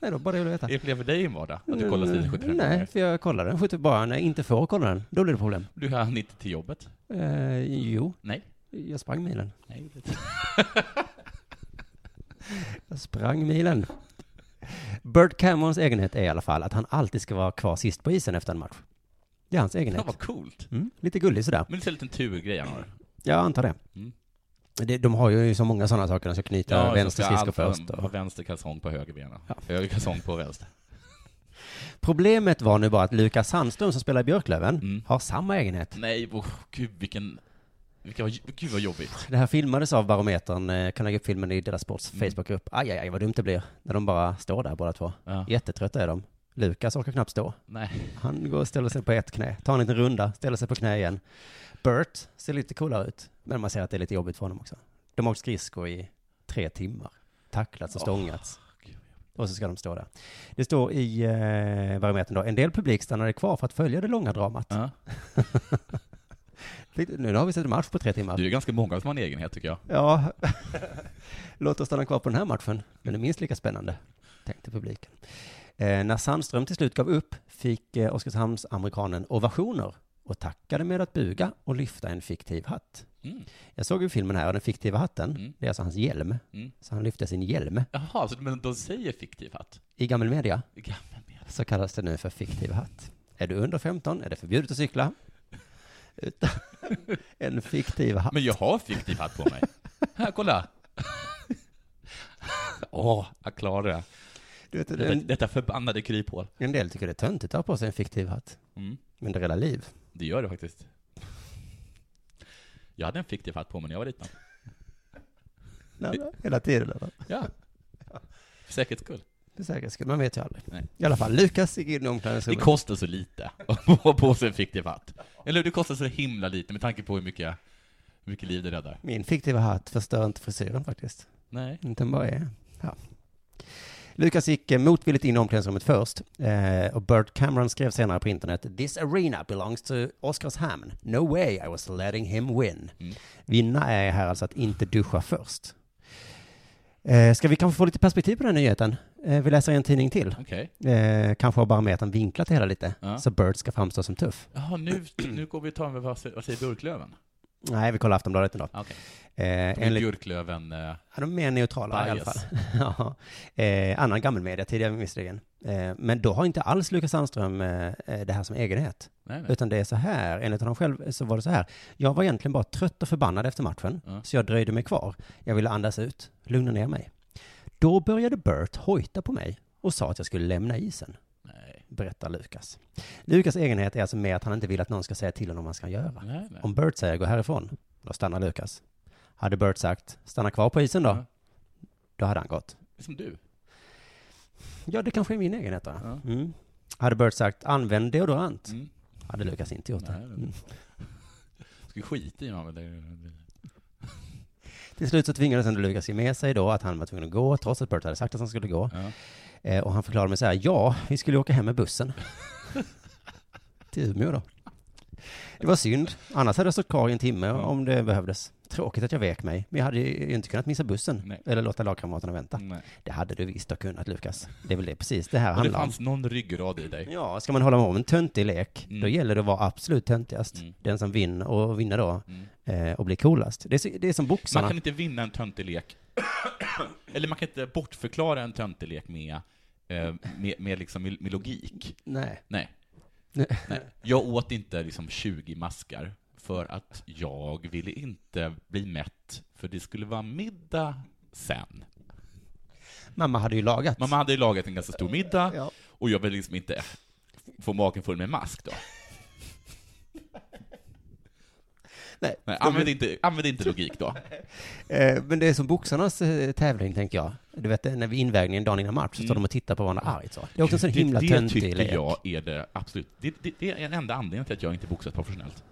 Nej, då bara det jag vill veta. Är det problem för dig i en vardag? Att du kollar stilen 75 Mm, Nej, gånger? för jag kollar den 75 bara när jag inte får kolla den. Då blir det problem. Du hann inte till jobbet? Eh, jo. Nej. Jag sprang milen. Nej. Jag sprang milen. Bert Camerons egenhet är i alla fall att han alltid ska vara kvar sist på isen efter en match. Det är hans Fan egenhet. vad coolt. Mm, lite gullig sådär. Men det är en liten turgrej han har. Jag antar det. Mm. det. De har ju så många sådana saker. De ska knyta så vänster ska skridsko allt ha- först. ha Och... vänster kalsong på höger bena. Ja. Höger kalsong på vänster. Problemet var nu bara att Lukas Sandström som spelar i Björklöven Mm. har samma egenhet. Nej, oh, gud vilken... vilken vad- gud vad jobbigt. Det här filmades av Barometern. eh, Kan lägga upp filmen i deras sports Mm. Facebookgrupp. Aj, aj, aj, vad dumt det blir. När de bara står där båda två. Ja. Jättetrötta är de. Lukas orkar knappt stå. Nej. Han går och ställer sig på ett knä, tar en liten runda, ställer sig på knä igen. Bert ser lite coolare ut, men man ser att det är lite jobbigt för honom också. De har åkt skridskor i tre timmar, tacklats och Åh, stångats. gud. och så ska de stå där. Det står i eh, barometern då, en del publik stannade kvar för att följa det långa dramat. Ja. Fick- Nu har vi sett en match på tre timmar. Du är ganska många som har en egenhet tycker jag. Ja, låt oss stanna kvar på den här matchen. Den är minst lika spännande, tänkte publiken. Eh, när Sandström till slut gav upp fick eh, Oskarshamnsamerikanen ovationer och tackade med att buga och lyfta en fiktiv hatt. Mm. Jag såg ju filmen här, och den fiktiva hatten, Mm. det är alltså hans hjälm. Mm. Så han lyfte sin hjälm. Jaha, så, men de säger fiktiv hatt? I gammal media Gammal media. så kallas det nu för fiktiv hatt. Är du under 15 är det förbjudet att cykla. Utan en fiktiv hatt. Men jag har fiktiv hatt på mig. Här, kolla. Åh, jag klarar det. Du vet, Detta, en, detta förbannade kryphål. en del tycker det är töntigt att ha på sig en fiktiv hatt. Mm. Men det är hela liv. Det gör det faktiskt. Jag hade en fiktiv hatt på mig när jag var liten. Nej, men hela tiden eller? Ja. För säkerhets skull. För säkerhets skull, man vet ju aldrig. Nej. I alla fall, Lukas gick in i Det omklädningsrummet. kostar så lite att ha på sig en fiktiv hatt. Eller hur? det kostar så himla lite med tanke på hur mycket, hur mycket liv det räddar. Min fiktiva hatt förstör inte frisyren faktiskt. Nej. Inte bara är. Ja. Lukas gick eh, motvilligt in i omklädningsrummet först. Eh, och Bert Cameron skrev senare på internet This arena belongs to Oskarshamn. No way I was letting him win. Mm. Vinna är här alltså att inte duscha först. Eh, ska vi kanske få lite perspektiv på den här nyheten? Eh, vi läser en tidning till. Okej. Eh, kanske har Barometern vinklat det hela lite, Ja. så Bert ska framstå som tuff. Jaha, nu, nu går vi och tar med, vad säger, vad säger Björklöven? Nej, vi kollar Aftonbladet idag. Okej. Eh, De är enligt, Björklöven... eh, ja, de är mer neutrala i alla Bias. fall. ja. eh, annan gammelmedia tidigare visserligen. Eh, men då har inte alls Lukas Sandström eh, eh, det här som egenhet. Nej, nej. Utan det är så här, enligt honom själv så var det så här. Jag var egentligen bara trött och förbannad efter matchen, Ja. så jag dröjde mig kvar. Jag ville andas ut, lugna ner mig. Då började Bert hojta på mig och sa att jag skulle lämna isen, Nej. berättar Lukas. Lukas egenhet är alltså med att han inte vill att någon ska säga till honom vad han ska göra. Nej, nej. Om Bert säger gå härifrån, då stannar Lukas. Hade Bert sagt stanna kvar på isen då, Ja. då hade han gått. Som du. Ja, det kanske är min egenhet då. Ja. Mm. Hade Bert sagt använd deodorant, Mm. hade Lukas inte gjort det. Nej, nej. Mm. Ska skita i honom. eller? Till slut så tvingades ändå Lukas ge med sig då att han var tvungen att gå, trots att Bert hade sagt att han skulle gå. Ja. Eh, och han förklarade mig så här, ja, vi skulle åka hem med bussen. Till Umeå då. Det var synd, annars hade jag stått kvar i en timme Ja. om det behövdes. Tråkigt att jag vek mig, men jag hade ju inte kunnat missa bussen. Nej. Eller låta lagkamraterna vänta. Nej. Det hade du visst ha kunnat, Lukas. Det är väl det precis det här Och det handlar om. fanns någon ryggrad i dig. Ja, ska man hålla om en töntig lek, Mm. då gäller det att vara absolut töntigast. Mm. Den som vinner, och vinner då, Mm. eh, och blir coolast. Det är, så- det är som Man boxarna. kan inte vinna en töntig lek. Eller man kan inte bortförklara en töntig lek med, eh, med, med, liksom, med, med logik. Nej. Nej. Nej. Nej. Jag åt inte liksom 20 maskar för att jag ville inte bli mätt, för det skulle vara middag sen. Mamma hade ju lagat. Mamma hade ju lagat en ganska stor middag, Ja. och jag ville liksom inte få magen full med mask då. Nej. Nej, använd, inte, använd inte logik då. Eh, men det är som boxarnas eh, tävling, tänker jag. Du vet, när vi invägningen dagen innan match, så står de och tittar på varandra argt så. Det är också en sån himla Mm. det, det töntig lek. tycker jag är det absolut. Det, det, det är den enda anledningen till att jag inte boxat professionellt.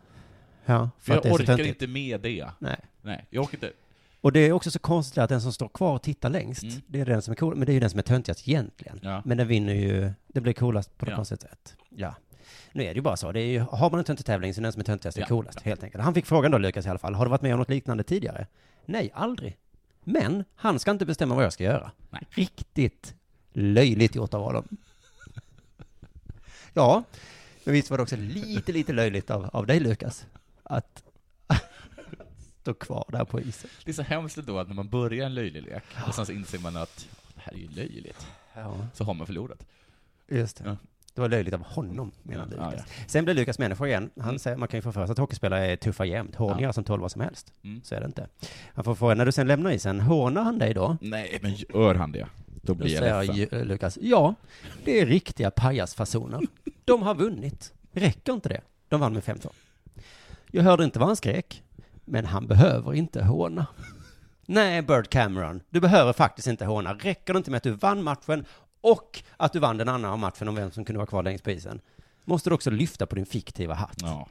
Ja, för För att det jag är så orkar töntigt. inte med det. Nej. Nej, jag orkar inte. Och det är också så konstigt att den som står kvar och tittar längst, Mm. det är den som är cool, men det är ju den som är töntigast egentligen. Ja. Men den vinner ju, det blir coolast på något Ja. konstigt sätt. Ja. Nu är det ju bara så, det är ju, har man en töntig tävling så är den som är töntigast är Ja. coolast, helt enkelt. Han fick frågan då, Lukas i alla fall, har du varit med om något liknande tidigare? Nej, aldrig. Men han ska inte bestämma vad jag ska göra. Nej. Riktigt löjligt gjort av honom. ja, men visst var det också lite, lite löjligt av, av dig Lukas, att stå kvar där på isen. Det är så hemskt då att när man börjar en löjlig lek, och sen så inser man att det här är ju löjligt, Ja. så har man förlorat. Just det. Ja. Det var löjligt av honom, menar Ja, Mm. Lukas. Sen blev Lukas människa igen. Han säger, man kan ju få för sig att hockeyspelare är tuffa jämt, håniga som tål vad som helst. Mm. Så är det inte. Han får fråga, när du sen lämnar isen, hånar han dig då? Nej, men gör han det, då Då blir jag säger ledsen. ju- Lukas, ja, det är riktiga pajasfasoner. De har vunnit. Räcker inte det? De vann med 5-2. Jag hörde inte vad han skrek, men han behöver inte håna. Nej, Bird Cameron, du behöver faktiskt inte håna. Räcker det inte med att du vann matchen och att du vann den andra matchen om vem som kunde vara kvar längst på isen? Måste du också lyfta på din fiktiva hatt? Ja,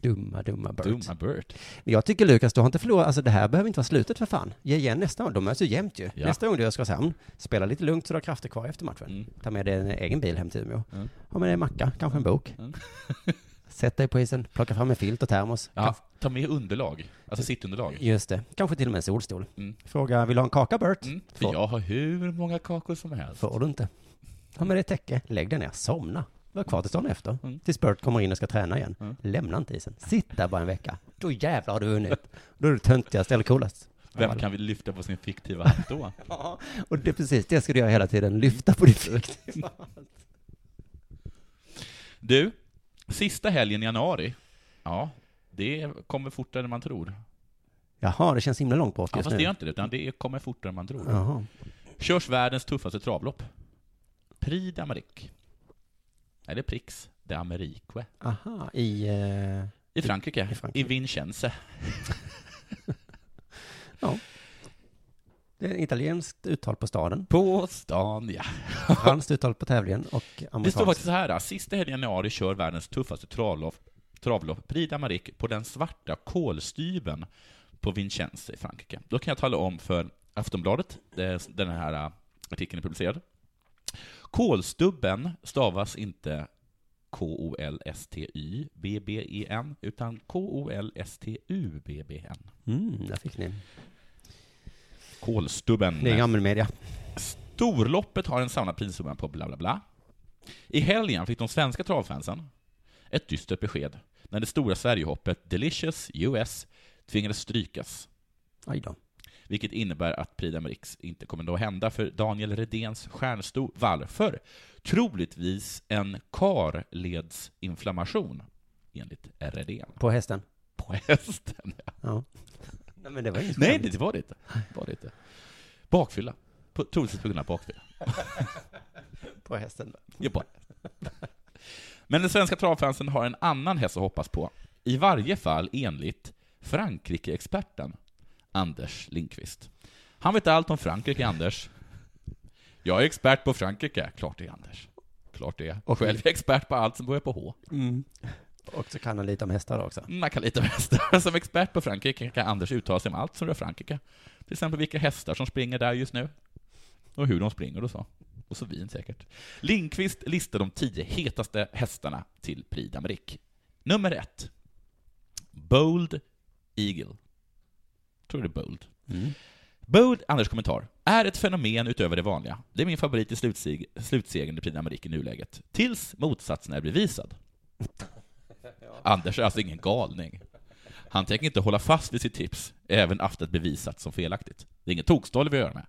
Dumma, dumma Bird. dumma Bert. Men Jag tycker Lukas, du har inte förlorat, alltså det här behöver inte vara slutet för fan. Ge igen nästa gång, de möts ju jämt ju. Ja. Nästa gång du är i Oskarshamn, spela lite lugnt så du har krafter kvar efter matchen. Mm. Ta med dig en egen bil hem till Umeå. Mm. Ha med dig en macka, kanske en bok. Mm. Sätt dig på isen, plocka fram en filt och termos. Ja, Kanske- ta med underlag, alltså sittunderlag. Just det, kanske till och med en solstol. Mm. Fråga, vill du ha en kaka Bert? Mm. För Får, jag har hur många kakor som helst. får du inte. Ha med dig ett täcke, lägg dig ner, somna. Var kvar tills dagen efter. Mm. Tills Bert kommer in och ska träna igen. Mm. Lämna inte isen. Sitt där bara en vecka. Då jävlar har du vunnit. Då är du töntigast eller coolast. Vem kan vi lyfta på sin fiktiva hatt då? Ja, och det, precis det ska du göra hela tiden, lyfta på din fikt. Du, sista helgen i januari. Ja, det kommer fortare än man tror. Jaha, det känns himla långt bort Ja, just fast det nu. gör inte det, utan det kommer fortare än man tror. Jaha. Körs världens tuffaste travlopp. Prix d'Amérique. Eller Prix d'Amérique. Aha, i... Eh, I Frankrike. I I, Frankrike. Vincenze. det är italienskt uttal på staden, På stan, ja. franskt uttal på tävlingen och Det står amerikanskt. faktiskt så här. då. Sista helgen i januari kör världens tuffaste travlopp, travlopp Prix d'Amérique på den svarta kolstyven på Vincenze i Frankrike. Då kan jag tala om för Aftonbladet, det- den här eh, artikeln är publicerad. Kolstubben stavas inte K-O-L-S-T-Y-B-B-E-N, E utan K-O-L-S-T-U-B-B-N. Mm, där fick ni. Kolstubben. Det är gammelmedia. Storloppet har en samlad prissumma på bla bla bla. I helgen fick de svenska travfansen ett dystert besked när det stora Sverigehoppet Delicious US tvingades strykas. Aj då. Vilket innebär att Prix d'Amérique inte kommer att hända för Daniel Redéns stjärnstor. Varför? Troligtvis en karledsinflammation, enligt Redén. På hästen. På hästen. Ja. Nej, men det var inget Nej, skämt. det var det inte. Var det inte. Bakfylla. På, troligtvis på grund av bakfylla. På hästen. Jag bara. Men den svenska travfansen har en annan häst att hoppas på. I varje fall enligt Frankrike-experten Anders Lindqvist. Han vet allt om Frankrike, Anders. Jag är expert på Frankrike. Klart det är, Anders. Klart det är. Och själv är jag expert på allt som börjar på H. Och så kan han lite om hästar också. Mm, Man kan lite om hästar. Som expert på Frankrike kan Anders uttala sig om allt som rör Frankrike. Till exempel vilka hästar som springer där just nu. Och hur de springer och så. Och så vin säkert. Lindqvist listar de tio hetaste hästarna till Prix d'Amérique. Nummer ett. Bold Eagle. Tror du det är Bold? Bold, Anders kommentar, är ett fenomen utöver det vanliga. Det är min favorit i slutseg- slutsegern i Prix d'Amérique i nuläget. Tills motsatsen är bevisad. Anders är alltså ingen galning. Han tänker inte hålla fast vid sitt tips, även efter att bevisat som felaktigt. Det är ingen tokstolle vi gör med.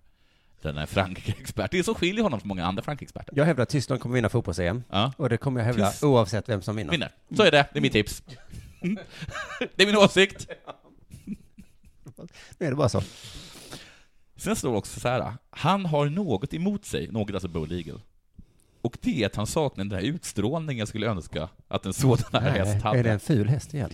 Den är Frankrike-expert. Det är så skiljer honom från många andra Frankrike-experter. Jag hävdar att Tyskland kommer vinna fotbolls-EM. Ja. Och det kommer jag hävda Tyst. oavsett vem som vinner. Vinner. Så är det. Det är mitt tips. Det är min åsikt. Nu är det bara så. Sen står det också så här. han har något emot sig, något alltså Bull Eagle. Och det är att han saknar den där utstrålningen jag skulle önska att en sådan här häst är det hade. en ful häst igen?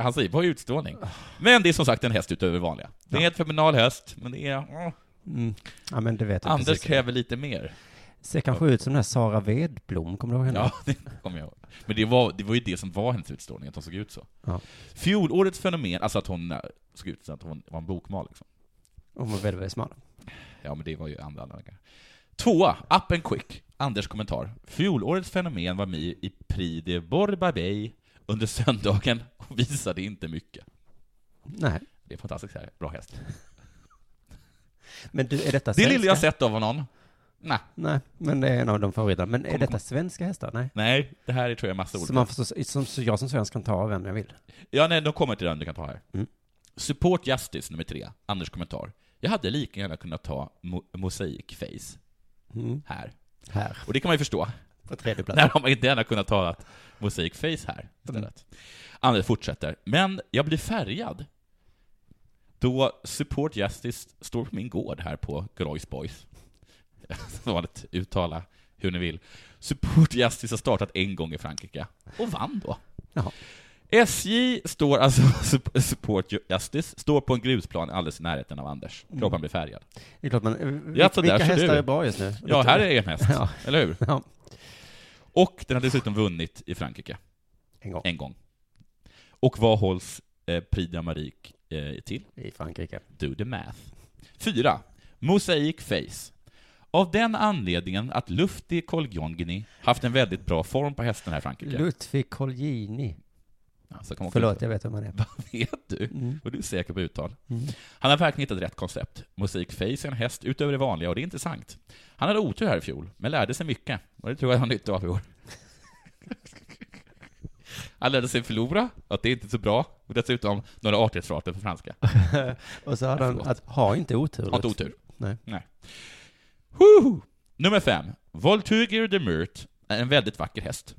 Han säger, vad är utstrålning? Men det är som sagt en häst utöver det vanliga. Det är en helt fenomenal häst, men det är... Mm. Ja, men det vet jag Anders precis. kräver lite mer. Ser kanske ut som den här Sara Vedblom, kommer du ihåg henne? Ja, det kommer jag ihåg. Men det var, det var ju det som var hennes utstrålning, att hon såg ut så. Ja. Fjolårets fenomen, alltså att hon eh, såg ut som att hon var en bokmal liksom. Hon var väldigt, väldigt smal. Ja, men det var ju andra anledningar. Tvåa, Up and Quick. Anders kommentar. Fjolårets fenomen var med i Prix de Borbabay under söndagen och visade inte mycket. Nej. Det är fantastiskt här. Bra häst. Men du, är detta Det svenska? lilla jag sett av honom. Nej, Nej, men det är en av de favoriterna. Men är Kom, detta kom. svenska hästar? Nej. nej, det här är tror jag massa ord. Så, man får, så, som, så jag som svensk kan ta vem jag vill? Ja, nej, de kommer till den du kan ta här. Mm. Support Justice nummer tre, Anders kommentar. Jag hade lika gärna kunnat ta mo- Mosaic Face Mm. här. Här, Och det kan man ju förstå. på tredje plats. När har man inte gärna kunnat ta att Mosaic Face här istället? Anders fortsätter. Men jag blir färgad då Support Justice står på min gård här på Groys Boys. Vanligt uttala hur ni vill. Support Justice har startat en gång i Frankrike och vann då. Jaha. SJ står alltså, Sup- Support Justice, står på en grusplan alldeles i närheten av Anders. Kroppen blir färgad. Det är klart man, vil- Ja, så vilka där ser hästar du. är bra just nu? Ja, här är en häst, Ja. eller hur? Ja, Och den har dessutom vunnit i Frankrike. en gång. en gång. Och vad hålls eh, Prix d'Amérique eh, till? I Frankrike. Do the math. 4. Mosaic Face. Av den anledningen att Lufti Kolgjongni haft en väldigt bra form på hästen här i Frankrike. Lutfi Colgjini. Ja, så kan man också- Förlåt, jag vet vem han är. Vad vet du? Mm. Och du är säker på uttal. Mm. Han har verkligen hittat rätt koncept. Mosaic Face är en häst utöver det vanliga och det är intressant. Han hade otur här i fjol, men lärde sig mycket. Och det tror jag han har nytta av i år. Han lärde sig förlora, att det inte är så bra, och dessutom några artighetsfraser på franska. Mm. Och så hade Ja, han förlåt. att ha inte otur. Har inte Lutfi. otur. Nej. Nej. Woohoo! Nummer fem. Voltuger de Murt är en väldigt vacker häst.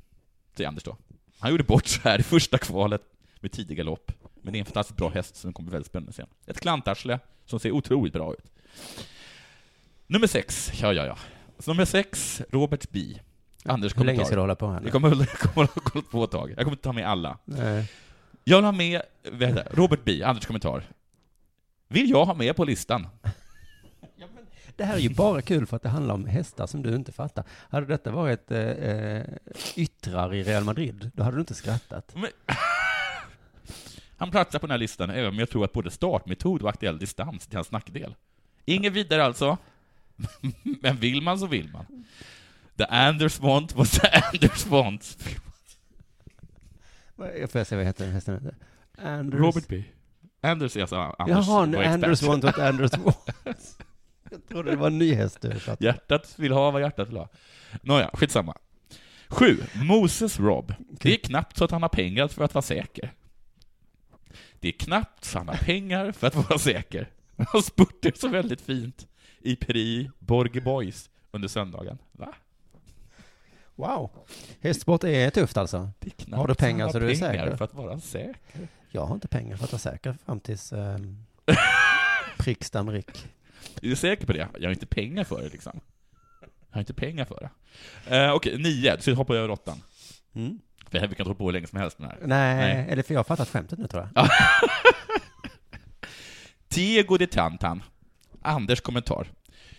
Säger Anders då. Han gjorde bort sig här i första kvalet med tidig galopp. Men det är en fantastiskt bra häst som kommer bli väldigt spännande sen. Ett klantarsle som ser otroligt bra ut. Nummer sex. Ja, ja, ja. Så nummer sex, Robert B. Anders Hur länge ska du kommentar. hålla på här nu? Jag kommer jag kommer att hålla på ett tag. Jag kommer inte ta med alla. Nej. Jag vill ha med, vänta, Robert B. Anders kommentar. Vill jag ha med på listan? Det här är ju bara kul för att det handlar om hästar som du inte fattar. Hade detta varit eh, eh, yttrar i Real Madrid, då hade du inte skrattat. Men... Han platsar på den här listan, även om jag tror att både startmetod och aktuell distans är till hans nackdel. Inget vidare alltså. Men vill man så vill man. The Anders Font was the Anders Font. Vad- Får jag se vad heter hästen heter? Anders... Robert B. Anders är alltså Anders. Jaha, vår nu expert. Anders want what Anders wants. Jag trodde det var en ny häst du satt. Hjärtat vill ha vad hjärtat vill ha. Nåja, skitsamma. Sju, Moses Rob. Det är knappt så att han har pengar för att vara säker. Det är knappt samma pengar för att vara säker. Han spurtade så väldigt fint i Peri Borge Boys under söndagen. Va? Wow. Hästsport är tufft alltså. Det är knappt Har du pengar samma så du är pengar säker? för att vara säker. Jag har inte pengar för att vara säker fram tills um, Prickstam Rick. Är du säker på det? Jag har inte pengar för det liksom. Jag har inte pengar för det. Eh, Okej, nio. Så hoppar jag över åttan. Mm. För vi kan dra på hur länge som helst med den här. Nej, Nej. eller för jag har fattat skämtet nu tror jag. Diego de Tantan. Anders kommentar.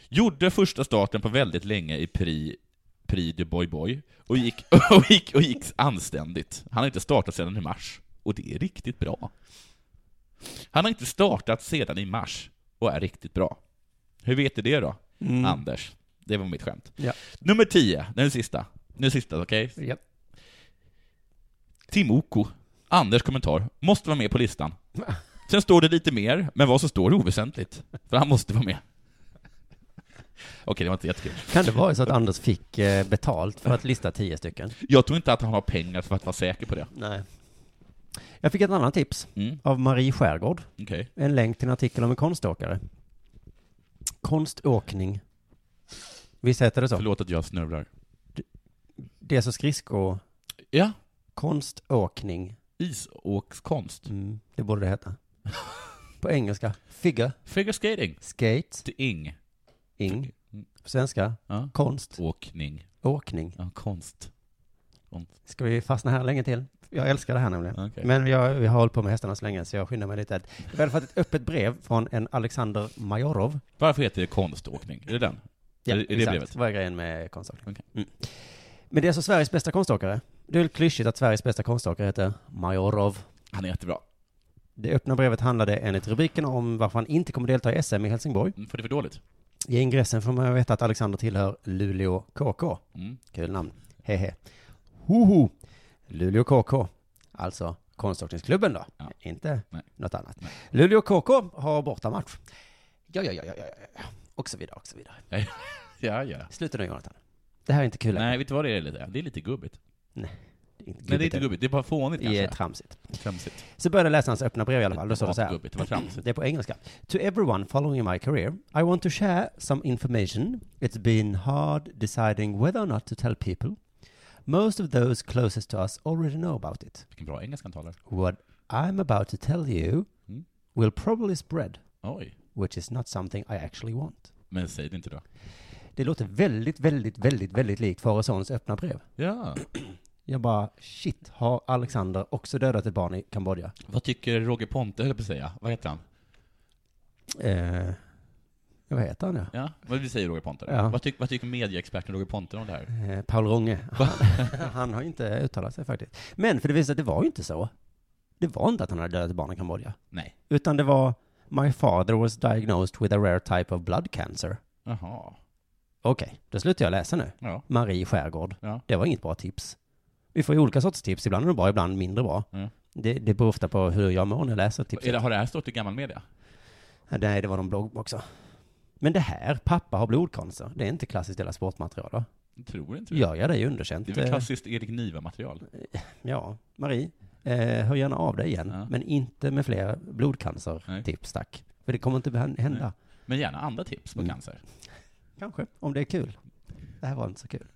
Gjorde första starten på väldigt länge i Prix, Prix de Boy Boy och gick, och, gick, och gick anständigt. Han har inte startat sedan i mars. Och det är riktigt bra. Han har inte startat sedan i mars och är riktigt bra. Hur vet du det då, Mm. Anders? Det var mitt skämt. Ja. Nummer 10, den sista. Den sista, okej? Ja. Timoko. Anders kommentar. Måste vara med på listan. Sen står det lite mer, men vad som står är oväsentligt. För han måste vara med. Okej, det var inte jättekul. Kan det vara så att Anders fick eh, betalt för att lista tio stycken? Jag tror inte att han har pengar för att vara säker på det. Nej. Jag fick ett annat tips Mm, av Marie Skärgård. okej. En länk till en artikel om en konståkare. Konståkning. Visst heter det så? Förlåt att jag snörvlar. Det är så skridsko... Ja, Konståkning. isåkskonst. Mm, det borde det heta. På engelska. Figure. Figure skating. Skate. Ing. Ing. På svenska. Ja. Konst. Åkning. Åkning. Ja, konst. Konst. Ska vi fastna här länge till? Jag älskar det här nämligen. Okej. Men jag, vi har hållit på med hästarna så länge så jag skyndar mig lite. Jag har fått ett öppet brev från en Alexander Majorov. Varför heter det konståkning? Är det den? Är det- är det brevet? Vad är grejen med konståkning? Okej. Mm. Men det är alltså Sveriges bästa konståkare. Det är väl klyschigt att Sveriges bästa konståkare heter Majorov. Han är jättebra. Det öppna brevet handlade enligt rubriken om varför han inte kommer delta i SM i Helsingborg. Mm, För det är för dåligt. I ingressen får man veta att Alexander tillhör Luleå KK. Mm. Kul namn. Hehe. Hoho. Luleå KK. Alltså konståkningsklubben då. Ja. Inte Nej. något annat. Nej. Luleå KK har bortamatch. Ja, ja, ja, ja, ja, ja, ja. Och så vidare, och så vidare. Ja, ja. Sluta nu Jonathan. Det här är inte kul längre. Nej, vet du vad det är lite? Det är lite gubbigt. Det är inte Nej, det är inte gubbigt. gubbigt. Det är bara fånigt Det är kanske. tramsigt. Tramsigt. Så började jag läsa hans öppna brev i alla fall. Då står det så här. Gubbigt, det var tramsigt. Det är på engelska. To everyone following my career, I want to share some information. It's been hard deciding whether or not to tell people. Most of those closest to us already know about it. Vilken bra engelska han talar. What I'm about to tell you Mm. will probably spread, Oj. which is not something I actually want. Men säg det inte då. Det låter väldigt, väldigt, väldigt, väldigt likt Faresons öppna brev. Ja. Jag bara, shit, har Alexander också dödat ett barn i Kambodja? Vad tycker Roger Ponte, höll jag på att säga. Vad heter han? Eh, vad heter han nu? Ja, vad vi säger Roger Ponte? då? Ja. Vad, tyck, vad tycker medieexperten Roger Ponte om det här? Eh, Paul Ronge. Han, han har inte uttalat sig faktiskt. Men för det visar sig att det var ju inte så. Det var inte att han hade dödat ett barn i Kambodja. Nej. Utan det var, my father was diagnosed with a rare type of blood cancer. Jaha. Okej, då slutar jag läsa nu. Ja. Marie Skärgård. Ja. Det var inget bra tips. Vi får ju olika sorts tips, ibland är de bra, ibland mindre bra. Mm. Det, det beror ofta på hur jag mår när jag läser tipset. Är det, har det här stått i gammal media? Nej, det var någon blogg också. Men det här, pappa har blodcancer, det är inte klassiskt delat sportmaterial va? Jag tror inte det. Gör jag dig underkänt? Det är väl eh, klassiskt Erik Niva-material? Ja, Marie, eh, hör gärna av dig igen, Ja. men inte med fler blodcancertips tack. För det kommer inte behä- hända. Men gärna andra tips på Mm. cancer. Kanske, om det är kul. Det här var inte så kul.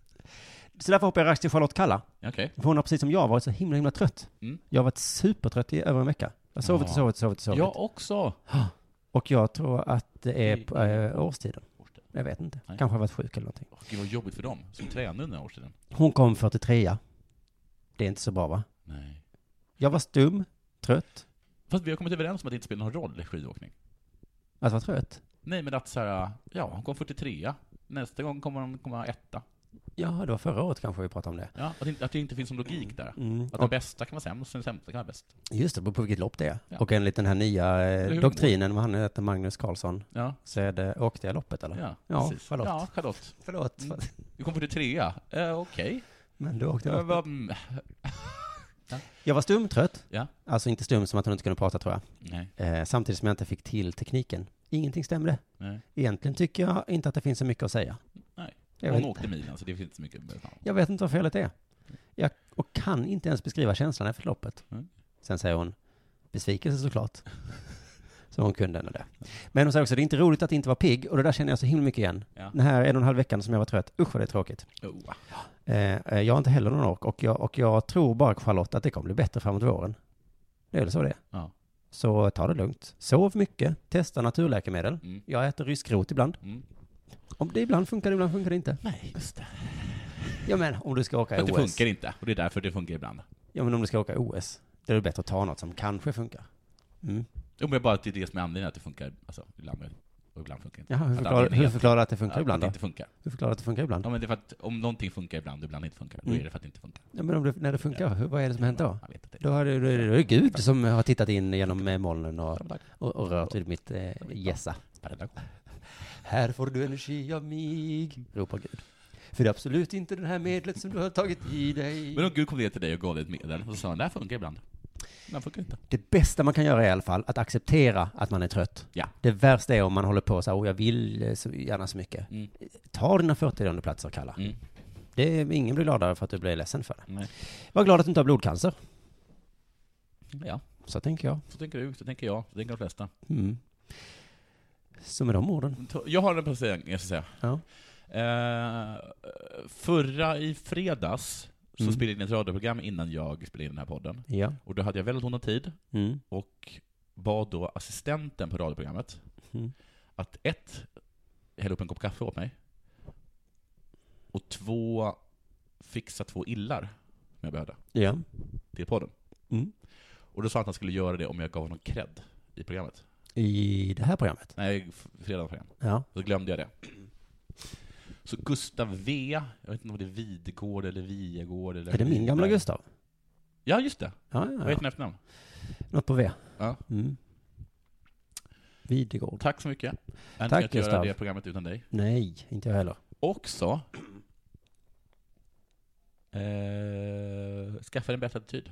Så därför hoppar jag raskt till Charlotte Kalla. Okej. För hon har precis som jag varit så himla, himla trött. Mm. Jag har varit supertrött i över en vecka. Jag har sovit och Ja. sovit och sovit och sovit. Jag också. Och jag tror att det är på, eh, årstiden. Årstiden. Jag vet inte. Nej. Kanske har jag varit sjuk eller någonting. Åh, Gud vad jobbigt för dem som tränade under den här årstiden. Hon kom 43 Det är inte så bra va? Nej. Jag var stum, trött. Fast vi har kommit överens om att det inte spelar någon roll i skidåkning. Att vara Alltså, trött? Nej, men att så här, ja, hon kom 43 Nästa gång kommer hon komma etta. Ja, det var förra året kanske vi pratade om det. Ja, att, det, inte- att det inte finns någon logik där. Mm. Att den bästa kan vara sämst, den sämsta kan vara bäst. Just det, det beror på vilket lopp det är. Ja. Och enligt den här nya eh, hur? doktrinen, vad han heter, Magnus Karlsson, Ja, så är det, åkte jag loppet eller? ja, Ja, precis. Charlotte. Ja, Charlotte. Förlåt. Mm. Du kom 43 eh, Okej. Men du åkte jag Eh, loppet. vad- mm, Jag var stumtrött. Ja. Alltså inte stum som att hon inte kunde prata tror jag. Nej, Eh, samtidigt som jag inte fick till tekniken. Ingenting stämde. nej. Egentligen tycker jag inte att det finns så mycket att säga. Nej. Jag vet, Hon inte. åkte milen, så det finns inte så mycket med honom. jag vet inte vad felet är. Jag och kan inte ens beskriva känslan efter loppet. Mm. Sen säger hon, besvikelse såklart. Så hon kunde ändå det. Men hon säger också, det är inte roligt att inte vara pigg och det där känner jag så himla mycket igen. Ja. Den här en och en halv veckan som jag var trött, usch vad det är tråkigt. Oh. Eh, eh, jag har inte heller någon ork och jag, och jag tror bara Charlotte att det kommer bli bättre framåt våren. Det är väl så det är. Ja. Så ta det lugnt. Sov mycket, testa naturläkemedel. Mm. Jag äter rysk rot ibland. Mm. Om det ibland funkar, ibland funkar det inte. Nej, just det. Ja men om du ska För åka att det OS. funkar inte, och det är därför det funkar ibland. Ja men om du ska åka OS, då är det bättre att ta något som kanske funkar. Mm. Jo, men bara att det är det som är anledningen att det funkar, alltså, ibland och ibland funkar det inte. Jaha, hur Att förklarar, antingen- hur förklarar du att det funkar Ja, ibland Att det då? inte funkar. Hur förklarar du att det funkar ibland? Ja, men det är för att om någonting funkar ibland och ibland inte funkar, då Mm. är det för att det inte funkar. Ja, men om det, när det funkar, hur, vad är det som har hänt då? Jag vet inte. Då har det, då är det, då är det Gud som har tittat in genom eh, molnen och, och, och rört vid mitt eh, gässa. Här får du energi av mig, ropar Gud. För det är absolut inte det här medlet som du har tagit i dig. Men om Gud kom ner till dig och gav dig ett medel, och så sa han, det här funkar ibland. Det här funkar inte. Det bästa man kan göra är i alla fall att acceptera att man är trött. Ja. Det värsta är om man håller på så här, åh jag vill eh, så gärna så mycket. Mm. Ta dina 40 platser, Kalla. Mm. Det, är- ingen blir gladare för att du blir ledsen för det. Nej. Var glad att du inte har blodcancer, Ja, så tänker jag. så tänker du, så tänker jag, så tänker de flesta. Mm. Så med de orden. Jag har en placering, jag ska säga. Ja. Eh, förra i fredags så Mm. spelade jag in ett radioprogram innan jag spelade in den här podden. Ja. Och då hade jag väldigt ont om tid Mm. och bad då assistenten på radioprogrammet Mm. att ett, hälla upp en kopp kaffe åt mig. Och två, fixa två illar som jag behövde Ja. till podden. Mm. Och då sa han att han skulle göra det om jag gav honom cred i programmet. I det här programmet. Nej, f- fredagens program. Ja. Så glömde jag det. Så Gustav V, jag vet inte om det är Vidgård eller Viegård eller... Är det min gamla Gustav? Ja, just det. Ja, Vad ja, heter ja. han i efternamn? Något på V. Ja. Mm. Videgård. Tack så mycket. Jag hade Tack, inte kunnat göra Gustav. det programmet utan dig. Nej, inte jag heller. Också... Eh, skaffa en bättre attityd.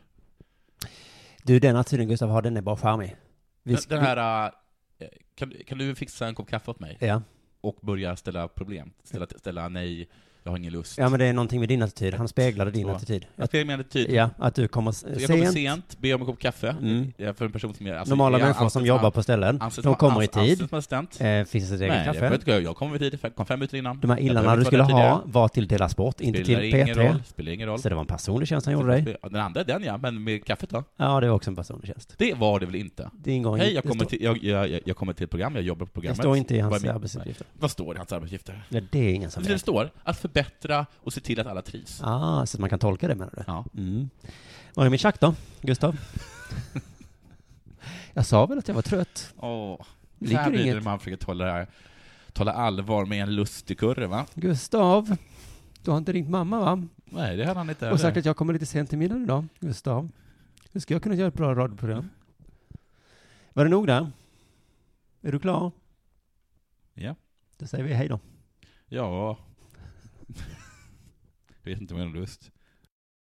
Du, den attityden Gustav har, den är bara charmig. Vi Den, den här... eh, Kan, kan du fixa en kopp kaffe åt mig? vi- Ja. Och börja ställa problem. Ställa, ställa nej, jag har ingen lust. ja, men det är någonting med din attityd. Han speglade din Så. attityd. Jag spelar min attityd. Ja, att du kommer s- Så jag kommer sent. sent, ber om en kopp kaffe. Mm. Eh, För en person som är... alltså, Normala jag människor anses som vara- jobbar på ställen, anses de vara- kommer i ans- tid. anses vara assistent. Eh, finns det ett Nej, eget jag behöver kaffe? inte gå. Jag kom i tid, jag kom fem minuter innan. De här Jag illarna behöver du inte skulle vara där ha tidigare. var till Della Sport, inte till Spelar ingen roll, P3. spelar ingen roll. Så det var en personlig tjänst han gjorde dig. Ja, Den andra är den ja, men med kaffet då? Ja, det var också en personlig tjänst. Det var det väl inte? Det ingår Hej, i- jag det kommer, står- till, jag, jag, jag- jag kommer till ett program, jag jobbar på Det programmet. står inte i Vad hans är min- arbetsuppgifter. Nej. Vad står det i hans arbetsuppgifter? Nej, det är ingen som Det vet. står att förbättra och se till att alla trivs. Ah, så att man kan tolka det menar du? Ja. Mm. Var är min tjack då, Gustav? jag sa väl att jag var trött? Åh, Ligger här blir det inget- när man försöker tala, det här- tala allvar med en lustig kurre, va? Gustav, du har inte ringt mamma va? Nej, det hade han inte Och sagt heller. att jag kommer lite sent till middagen idag, Gustav. Hur ska jag kunna göra ett bra radioprogram? Var det nog där? Är du klar? Ja. Då säger vi hej då. Ja. jag vet inte om jag har lust.